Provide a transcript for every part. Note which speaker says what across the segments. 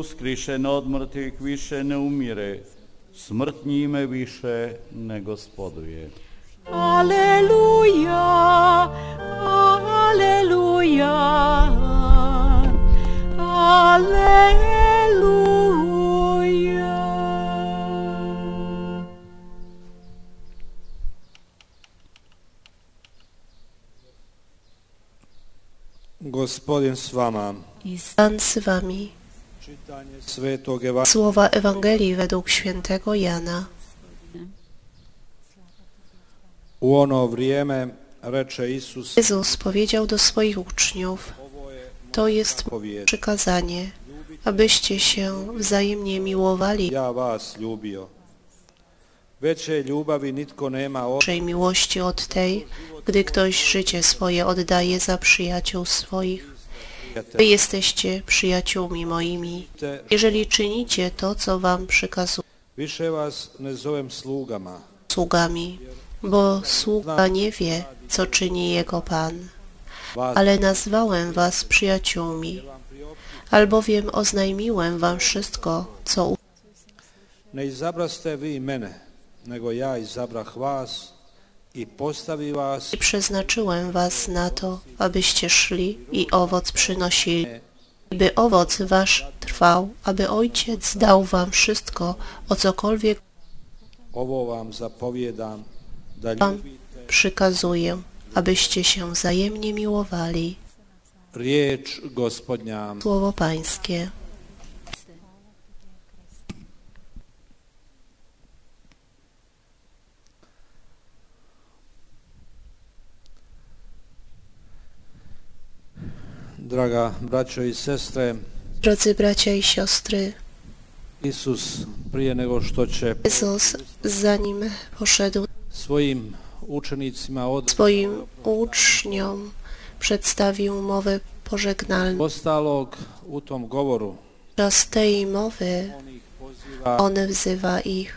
Speaker 1: Iskrišen od mrtvih više ne umire, smrt njime više ne gospoduje.
Speaker 2: Aleluja, aleluja, aleluja.
Speaker 3: Gospodin s vama.
Speaker 4: Pan z wami.
Speaker 3: Czytanie Svetog Ewangelii
Speaker 4: Słowa Ewangelii według świętego Jana.
Speaker 3: U ono vrijeme reče Isus
Speaker 4: Jezus powiedział do swoich uczniów, to jest
Speaker 3: povijet,
Speaker 4: przykazanie, abyście się wzajemnie miłowali.
Speaker 3: ja vas ljubio. Veće ljubavi nitko nema od
Speaker 4: Większej miłości od tej, gdy ktoś życie swoje oddaje za przyjaciół swoich. Wy jesteście przyjaciółmi moimi,
Speaker 3: te,
Speaker 4: jeżeli czynicie to, co wam przykazuje
Speaker 3: više vas ne zovem slugama,
Speaker 4: sługami, bo sługa nie wie, co czyni jego Pan.
Speaker 3: vas
Speaker 4: ale nazwałem was przyjaciółmi, albowiem oznajmiłem wam wszystko, co u-
Speaker 3: ne izabraste vi mene, nego ja izabrah vas i postavi vas
Speaker 4: i przeznaczyłem was na to, abyście szli i owoc przynosili, I by owoc wasz trwał, aby Ojciec dał wam wszystko, o cokolwiek
Speaker 3: ovo vam zapovjedam da
Speaker 4: Wam.
Speaker 3: ljubite
Speaker 4: przykazuję, abyście się wzajemnie miłowali.
Speaker 3: riječ gospodnja.
Speaker 4: Słowo Pańskie.
Speaker 3: Draga braćo i sestre,
Speaker 4: Drodzy bracia i siostry,
Speaker 3: Isus prije nego što će
Speaker 4: Jezus, zanim poszedł
Speaker 3: svojim učenicima od
Speaker 4: swoim uczniom przedstawił mowę pożegnalną.
Speaker 3: ostalog u tom govoru
Speaker 4: Podczas tej mowy
Speaker 3: on ih poziva
Speaker 4: on wzywa ich,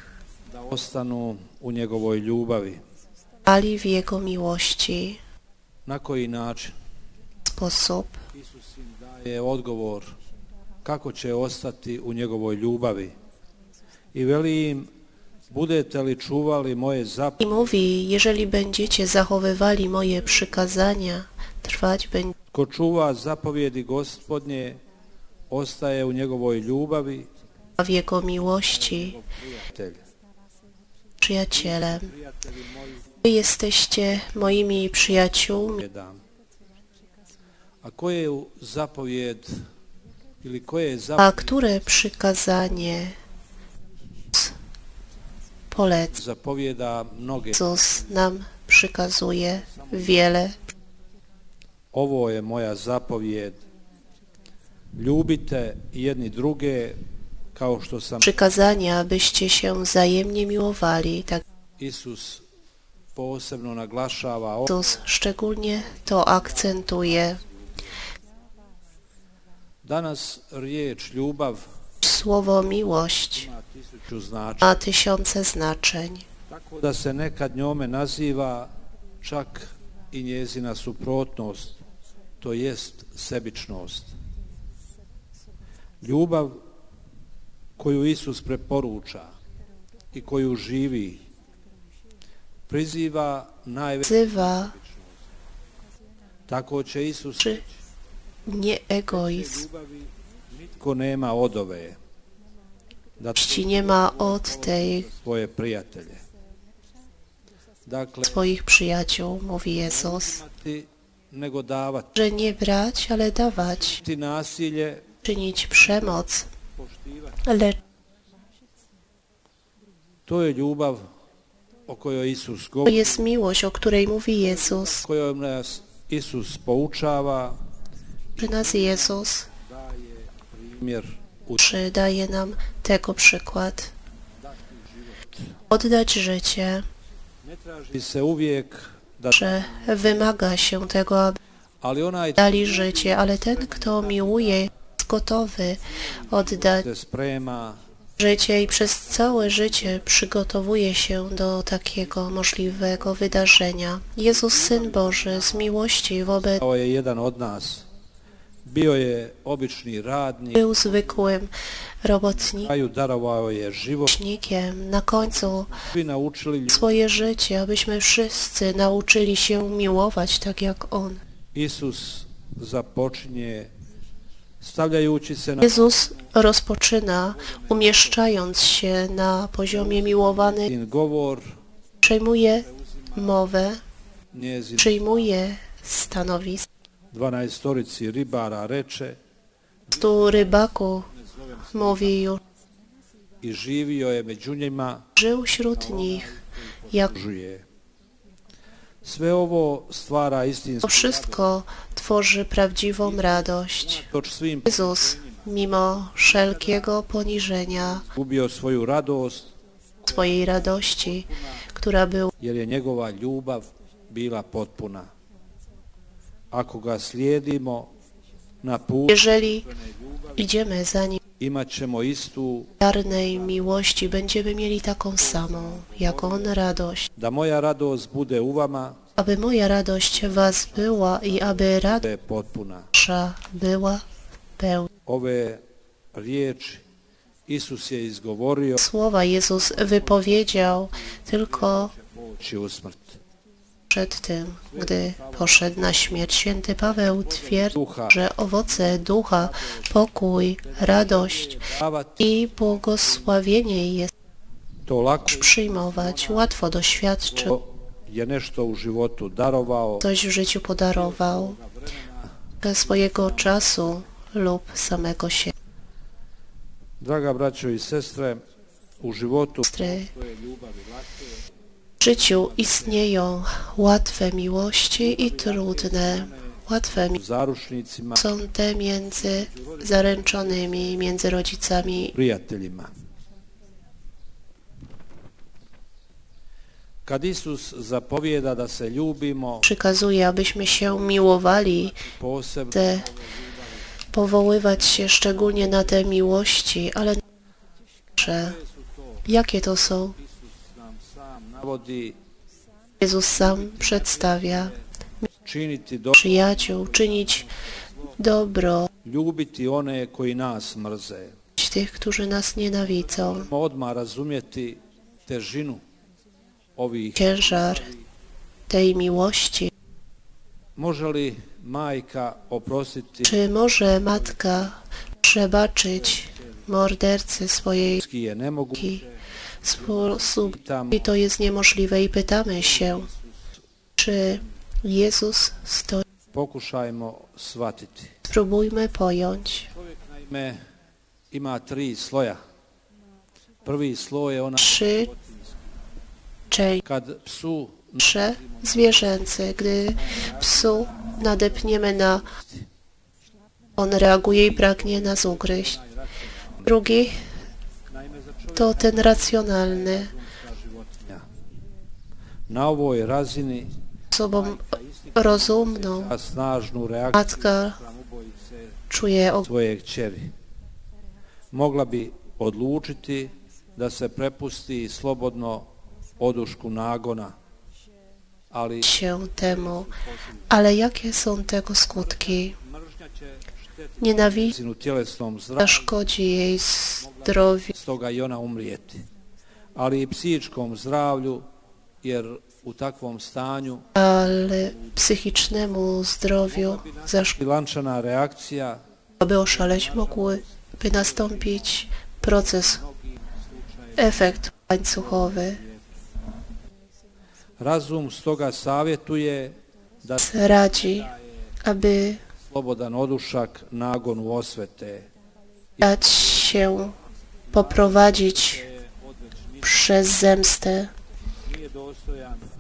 Speaker 3: da ostanu u njegovoj ljubavi.
Speaker 4: ali w jego miłości
Speaker 3: Na koji način?
Speaker 4: sposób.
Speaker 3: Isus im daje odgovor kako će ostati u njegovoj ljubavi. I veli im, budete li čuvali moje
Speaker 4: I
Speaker 3: zapovjedi,
Speaker 4: mówi, jeżeli będziecie zachowywali moje przykazania, trwać będzie
Speaker 3: ko čuva zapovjedi gospodnje, ostaje u njegovoj ljubavi,
Speaker 4: w jego miłości
Speaker 3: prijatelj.
Speaker 4: przyjacielem.
Speaker 3: Prijatelji moji,
Speaker 4: Wy jesteście moimi przyjaciółmi.
Speaker 3: zapovjedam. A koje je zapovjed ili koje je
Speaker 4: A
Speaker 3: zapovjed
Speaker 4: które przykazanie polec?
Speaker 3: zapovjeda mnoge.
Speaker 4: Jezus nam przykazuje wiele.
Speaker 3: Ovo je moja zapovjed. Ljubite jedni druge kao što sam
Speaker 4: Przykazania, abyście się wzajemnie miłowali, tak
Speaker 3: Isus posebno naglašava o-
Speaker 4: Jezus szczególnie to akcentuje.
Speaker 3: Danas riječ ljubav
Speaker 4: Słowo miłość
Speaker 3: ima tisuću znači.
Speaker 4: ma tysiące znaczeń.
Speaker 3: Tako da se nekad njome naziva čak i njezina suprotnost, to jest sebičnost. Ljubav koju Isus preporuča i koju živi, priziva najveću.
Speaker 4: Wzywa
Speaker 3: Tako će Isus
Speaker 4: Či- nieegoizm.
Speaker 3: ljubavi nitko nema odove da
Speaker 4: Miłości nie ma od tej
Speaker 3: svoje prijatelje. Dakle,
Speaker 4: swoich przyjaciół, mówi Jezus.
Speaker 3: imati nego davati.
Speaker 4: Że nie brać, ale dawać,
Speaker 3: ti nasilje
Speaker 4: czynić przemoc,
Speaker 3: poštivati.
Speaker 4: lecz
Speaker 3: To je ljubav o kojoj Isus
Speaker 4: to
Speaker 3: govori,
Speaker 4: jest miłość, o której mówi Jezus.
Speaker 3: kojom nas Isus poučava,
Speaker 4: Czy nas Jezus
Speaker 3: primjer u
Speaker 4: czy daje nam tego przykład? Oddać życie,
Speaker 3: ne traži se uvijek da
Speaker 4: że wymaga się tego, aby
Speaker 3: ali onaj
Speaker 4: dali życie, ale ten, kto miłuje, jest gotowy oddać
Speaker 3: se sprema
Speaker 4: życie i przez całe życie przygotowuje się do takiego możliwego wydarzenia. Jezus, Syn Boży, z miłości wobec
Speaker 3: kao je jedan od nas Bio je obični radnik,
Speaker 4: Był zwykłym
Speaker 3: na
Speaker 4: robotnikiem,
Speaker 3: kraju darovao je život.
Speaker 4: na końcu
Speaker 3: Svi naučili ljudi.
Speaker 4: swoje życie, abyśmy wszyscy nauczyli się miłować tak jak On.
Speaker 3: Isus započinje stavljajući se na
Speaker 4: Jezus rozpoczyna, umieszczając się na poziomie miłowanych,
Speaker 3: njezin govor,
Speaker 4: przejmuje mowę,
Speaker 3: njezin
Speaker 4: przyjmuje stanowisko.
Speaker 3: dvanaestorici ribara reče
Speaker 4: Tu rybaku mówi już,
Speaker 3: i živio je među njima,
Speaker 4: żył wśród nich, jak
Speaker 3: žuje. Sve ovo stvara
Speaker 4: to
Speaker 3: istinsku
Speaker 4: wszystko tworzy prawdziwą radość.
Speaker 3: toč svim
Speaker 4: Jezus, mimo wszelkiego poniżenia
Speaker 3: gubio svoju radost
Speaker 4: swojej radości, która była
Speaker 3: jer je njegova ljubav bila potpuna. Ako ga slijedimo na put,
Speaker 4: Jeżeli idziemy za nim
Speaker 3: imat ćemo istu,
Speaker 4: w darnej miłości, będziemy mieli taką samą, jak on radość.
Speaker 3: da moja radost bude u vama,
Speaker 4: Aby moja radość was była i aby
Speaker 3: da je potpuna.
Speaker 4: radosza była pełna.
Speaker 3: Ove riječi Isus je izgovorio
Speaker 4: Słowa Jezus wypowiedział tylko
Speaker 3: poći u smrt.
Speaker 4: przed tym, gdy poszedł na śmierć. Święty Paweł twierdzi,
Speaker 3: Duha,
Speaker 4: że owoce ducha, pokój, radość
Speaker 3: davati
Speaker 4: i błogosławienie jest
Speaker 3: to lako
Speaker 4: przyjmować, łatwo doświadczyć.
Speaker 3: je nešto u životu darovao,
Speaker 4: coś w życiu podarował dla swojego czasu lub samego siebie.
Speaker 3: Draga braćo i sestre, u životu
Speaker 4: W życiu istnieją łatwe miłości i trudne. Łatwe
Speaker 3: u
Speaker 4: mi-
Speaker 3: zaručnicima,
Speaker 4: są te między zaręczonymi, między rodzicami.
Speaker 3: prijateljima. Kad Isus zapovijeda da se ljubimo,
Speaker 4: Przykazuje, abyśmy się miłowali,
Speaker 3: posebno
Speaker 4: te, powoływać się szczególnie na te miłości, ale że- jakie to są?
Speaker 3: navodi
Speaker 4: Jezus sam przedstawia.
Speaker 3: činiti do
Speaker 4: przyjaciół, czynić dobro
Speaker 3: ljubiti one koji nas mrze.
Speaker 4: tych, którzy nas nienawidzą.
Speaker 3: Moramo odmah razumjeti težinu ovih.
Speaker 4: Ciężar tej miłości.
Speaker 3: Može li majka oprostiti
Speaker 4: Czy może matka przebaczyć mordercy swojej
Speaker 3: ki je ne mogu?
Speaker 4: matki w sposób,
Speaker 3: Pitam
Speaker 4: i to jest niemożliwe i pytamy się, czy Jezus stoi.
Speaker 3: pokušajmo shvatiti.
Speaker 4: Spróbujmy pojąć.
Speaker 3: Naime, ima tri sloja. Prvi sloj je ona
Speaker 4: Trzy części.
Speaker 3: kad psu
Speaker 4: Trzy zwierzęce, gdy psu nadepniemy na on reaguje i pragnie nas ugryźć. Drugi to ten racjonalny.
Speaker 3: na ovoj razini
Speaker 4: Osobą rozumną
Speaker 3: a snažnu reakciju
Speaker 4: matka czuje o-
Speaker 3: svoje kćeri. Mogla bi odlučiti da se prepusti slobodno odušku nagona, ali
Speaker 4: się temu, ale jakie są tego skutki?
Speaker 3: mržnja će štetiti
Speaker 4: Nienawiść
Speaker 3: njezinu tjelesnom zdravlju,
Speaker 4: szkodzi jej zdrowiu,
Speaker 3: stoga i ona umrijeti. Ali i psičkom zdravlju, jer u takvom stanju
Speaker 4: ale psychicznemu zdrowiu zaszkodzi.
Speaker 3: bilančana reakcija
Speaker 4: Aby oszaleć, mogłyby nastąpić proces, efekt łańcuchowy.
Speaker 3: Razum stoga savjetuje da se
Speaker 4: Radzi, aby
Speaker 3: slobodan odušak nagonu osvete.
Speaker 4: dać się poprowadzić przez zemstę.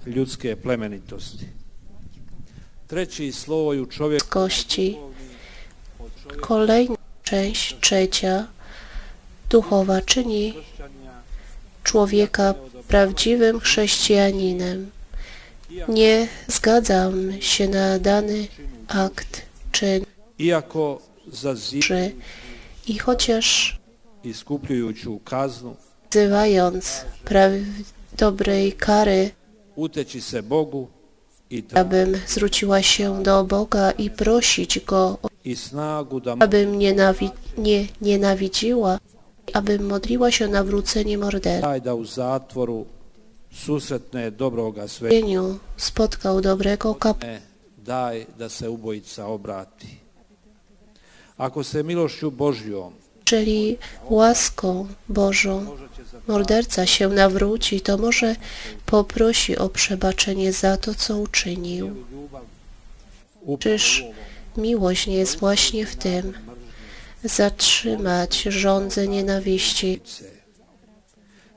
Speaker 3: ljudske plemenitosti. Treći sloj u čovjeku
Speaker 4: kości. Kolejna część, trzecia, duchowa, czyni człowieka prawdziwym chrześcijaninem. Nie zgadzam się na dany akt czyn
Speaker 3: iako zaziva
Speaker 4: czy i chociaż
Speaker 3: iskupljujuću kaznu,
Speaker 4: wzywając praw- dobrej kary,
Speaker 3: uteći se Bogu i tražiti
Speaker 4: abym zwróciła się do Boga i prosić Go o
Speaker 3: i snagu da
Speaker 4: abym nienawi- nie nienawidziła, abym modliła się o nawrócenie mordercy.
Speaker 3: daj da u zatvoru susretne dobroga
Speaker 4: W
Speaker 3: sve,
Speaker 4: więzieniu spotkał dobrego kapłana,
Speaker 3: daj da se ubojica obrati. Ako se milošću Božjom
Speaker 4: czyli łaską Bożą. Morderca się nawróci, to może poprosi o przebaczenie za to, co uczynił. Czyż miłość nie jest właśnie w tym? Zatrzymać żądzę nienawiści.
Speaker 3: ubice.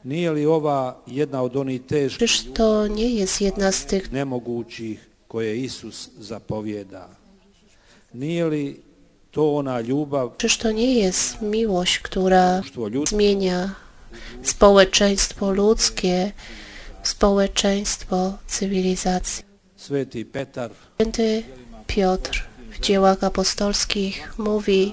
Speaker 3: Nije li ova jedna od onih teških,
Speaker 4: Czyż to nie jest jedna z tych
Speaker 3: nemogućih koje Isus zapovjeda? Nije li to ona ljubav
Speaker 4: Czyż to nie jest miłość, która
Speaker 3: što ljudi
Speaker 4: zmienia społeczeństwo ludzkie, społeczeństwo cywilizacji?
Speaker 3: Sveti Petar
Speaker 4: Święty Piotr w dziełach apostolskich mówi,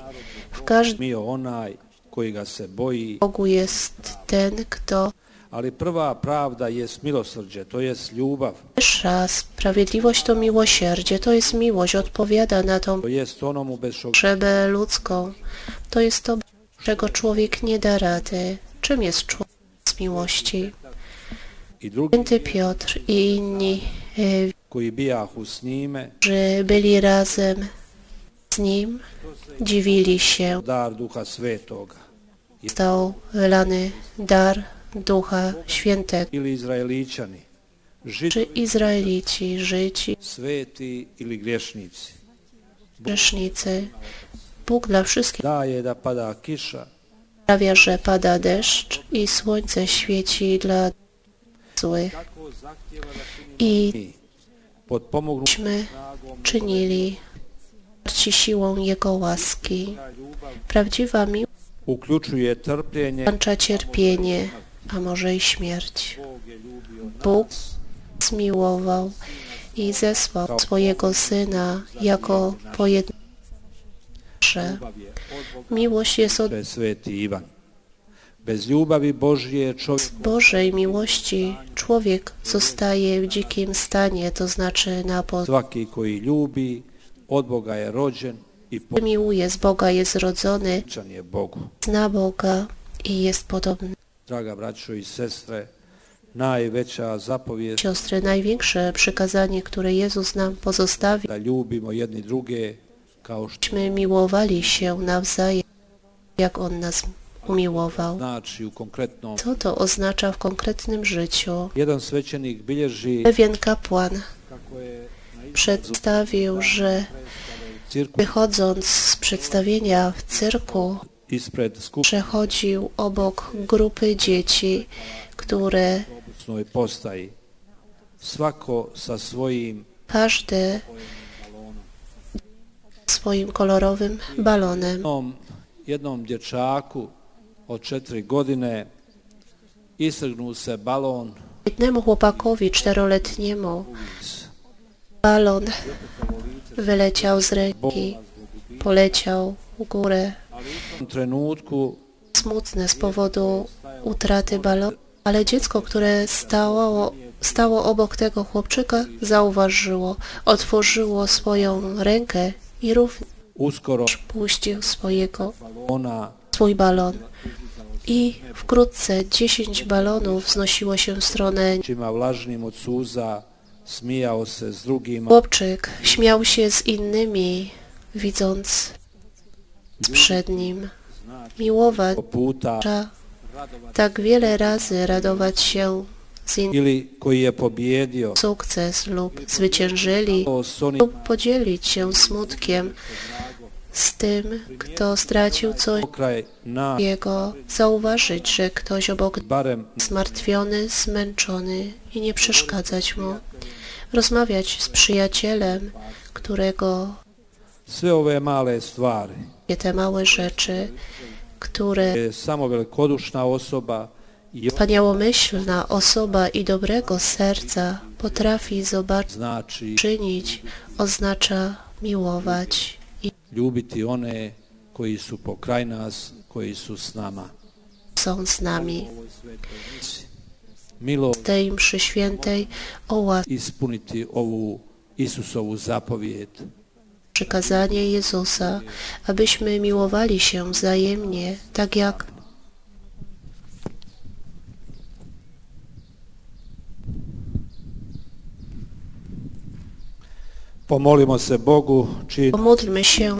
Speaker 4: w każdym
Speaker 3: mio onaj koji ga se boji,
Speaker 4: Bogu jest ten, kto
Speaker 3: ali prva pravda jest milosrđe, to jest ljubav,
Speaker 4: pierwsza sprawiedliwość to miłosierdzie, to jest miłość, odpowiada na tą
Speaker 3: to jest onomu bez što
Speaker 4: potrzebę ludzką. To jest to, czego człowiek nie da rady. Czym jest człowiek z miłości?
Speaker 3: i drugi
Speaker 4: Święty Piotr i inni, e,
Speaker 3: koji bijahu s njime,
Speaker 4: którzy byli razem z nim, dziwili się.
Speaker 3: dar duha svetoga.
Speaker 4: Stał lany dar Ducha Świętego.
Speaker 3: Ili Izraeličani, žid,
Speaker 4: Czy Izraelici, Życi,
Speaker 3: sveti ili griješnici.
Speaker 4: grzesznicy, Bóg dla wszystkich
Speaker 3: Daje da pada kiša,
Speaker 4: sprawia, że pada deszcz i słońce świeci dla złych. I
Speaker 3: i potpomognu
Speaker 4: myśmy czynili ci siłą Jego łaski. Prawdziwa miłość
Speaker 3: uključuje trpljenje,
Speaker 4: włącza cierpienie, a może i śmierć.
Speaker 3: Bog je ljubio
Speaker 4: Bóg
Speaker 3: nas
Speaker 4: zmiłował i zesłał swojego Syna jako pojedyncze.
Speaker 3: je od Boga,
Speaker 4: Miłość jest od
Speaker 3: to je sveti Ivan. Bez ljubavi Božje čovjek
Speaker 4: Bożej miłości. Człowiek zostaje w dzikim stanie, to znaczy na pozycji.
Speaker 3: svaki koji ljubi, od Boga je rođen i
Speaker 4: Miłuje z Boga, jest rodzony,
Speaker 3: počan je Bogu.
Speaker 4: zna Boga i jest podobny.
Speaker 3: Draga braćo i sestre, najveća zapovijest
Speaker 4: Siostry, największe przykazanie, które Jezus nam pozostawił,
Speaker 3: da ljubimo jedni druge kao što
Speaker 4: byśmy miłowali się nawzajem, jak On nas umiłował.
Speaker 3: znači u konkretnom.
Speaker 4: Co to oznacza w konkretnym życiu?
Speaker 3: Jedan svećenik bilježi
Speaker 4: Pewien kapłan
Speaker 3: kako je na izlazu
Speaker 4: przedstawił, że
Speaker 3: cirku
Speaker 4: wychodząc z przedstawienia w cyrku,
Speaker 3: ispred skupnoj
Speaker 4: przechodził obok grupy dzieci, które
Speaker 3: postaji. Svako sa svojim
Speaker 4: każdy swoim kolorowym balonem.
Speaker 3: jednom, jednom dječaku od četiri godine istrgnu se balon
Speaker 4: Jednemu chłopakowi czteroletniemu
Speaker 3: iz
Speaker 4: balon wyleciał z ręki, poleciał w górę.
Speaker 3: tom trenutku
Speaker 4: Smutne z powodu utraty balonu, ale dziecko, które stało, stało obok tego chłopczyka, zauważyło, otworzyło swoją rękę i również
Speaker 3: uskoro
Speaker 4: puścił swojego,
Speaker 3: balona
Speaker 4: swój balon. I wkrótce 10 balonów wznosiło się w stronę
Speaker 3: čima vlažnim od suza smijao se s drugima
Speaker 4: Chłopczyk śmiał się z innymi, widząc przed nim. Miłować
Speaker 3: puta
Speaker 4: trzeba tak wiele razy radować się z innym
Speaker 3: ili koji je pobjedio
Speaker 4: sukces lub zwyciężyli
Speaker 3: to s onim
Speaker 4: lub podzielić się smutkiem z tym, kto stracił coś
Speaker 3: pokraj na
Speaker 4: jego, zauważyć, że ktoś obok
Speaker 3: barem
Speaker 4: zmartwiony, zmęczony i nie przeszkadzać mu, rozmawiać z przyjacielem, którego
Speaker 3: sve ove male stvari
Speaker 4: wszystkie te małe rzeczy, które
Speaker 3: je samo velikodušna osoba i
Speaker 4: wspaniałomyślna osoba i dobrego serca potrafi zobaczyć,
Speaker 3: znači
Speaker 4: czynić, oznacza miłować i
Speaker 3: ljubiti one koji su pokraj nas koji su s nama
Speaker 4: są z nami.
Speaker 3: milo
Speaker 4: W tej mszy świętej o łasce
Speaker 3: ispuniti ovu Isusovu zapovijed
Speaker 4: czy kazanie Jezusa, abyśmy miłowali się wzajemnie, tak jak
Speaker 3: Pomolimo se Bogu, čiji
Speaker 4: pomódlmy się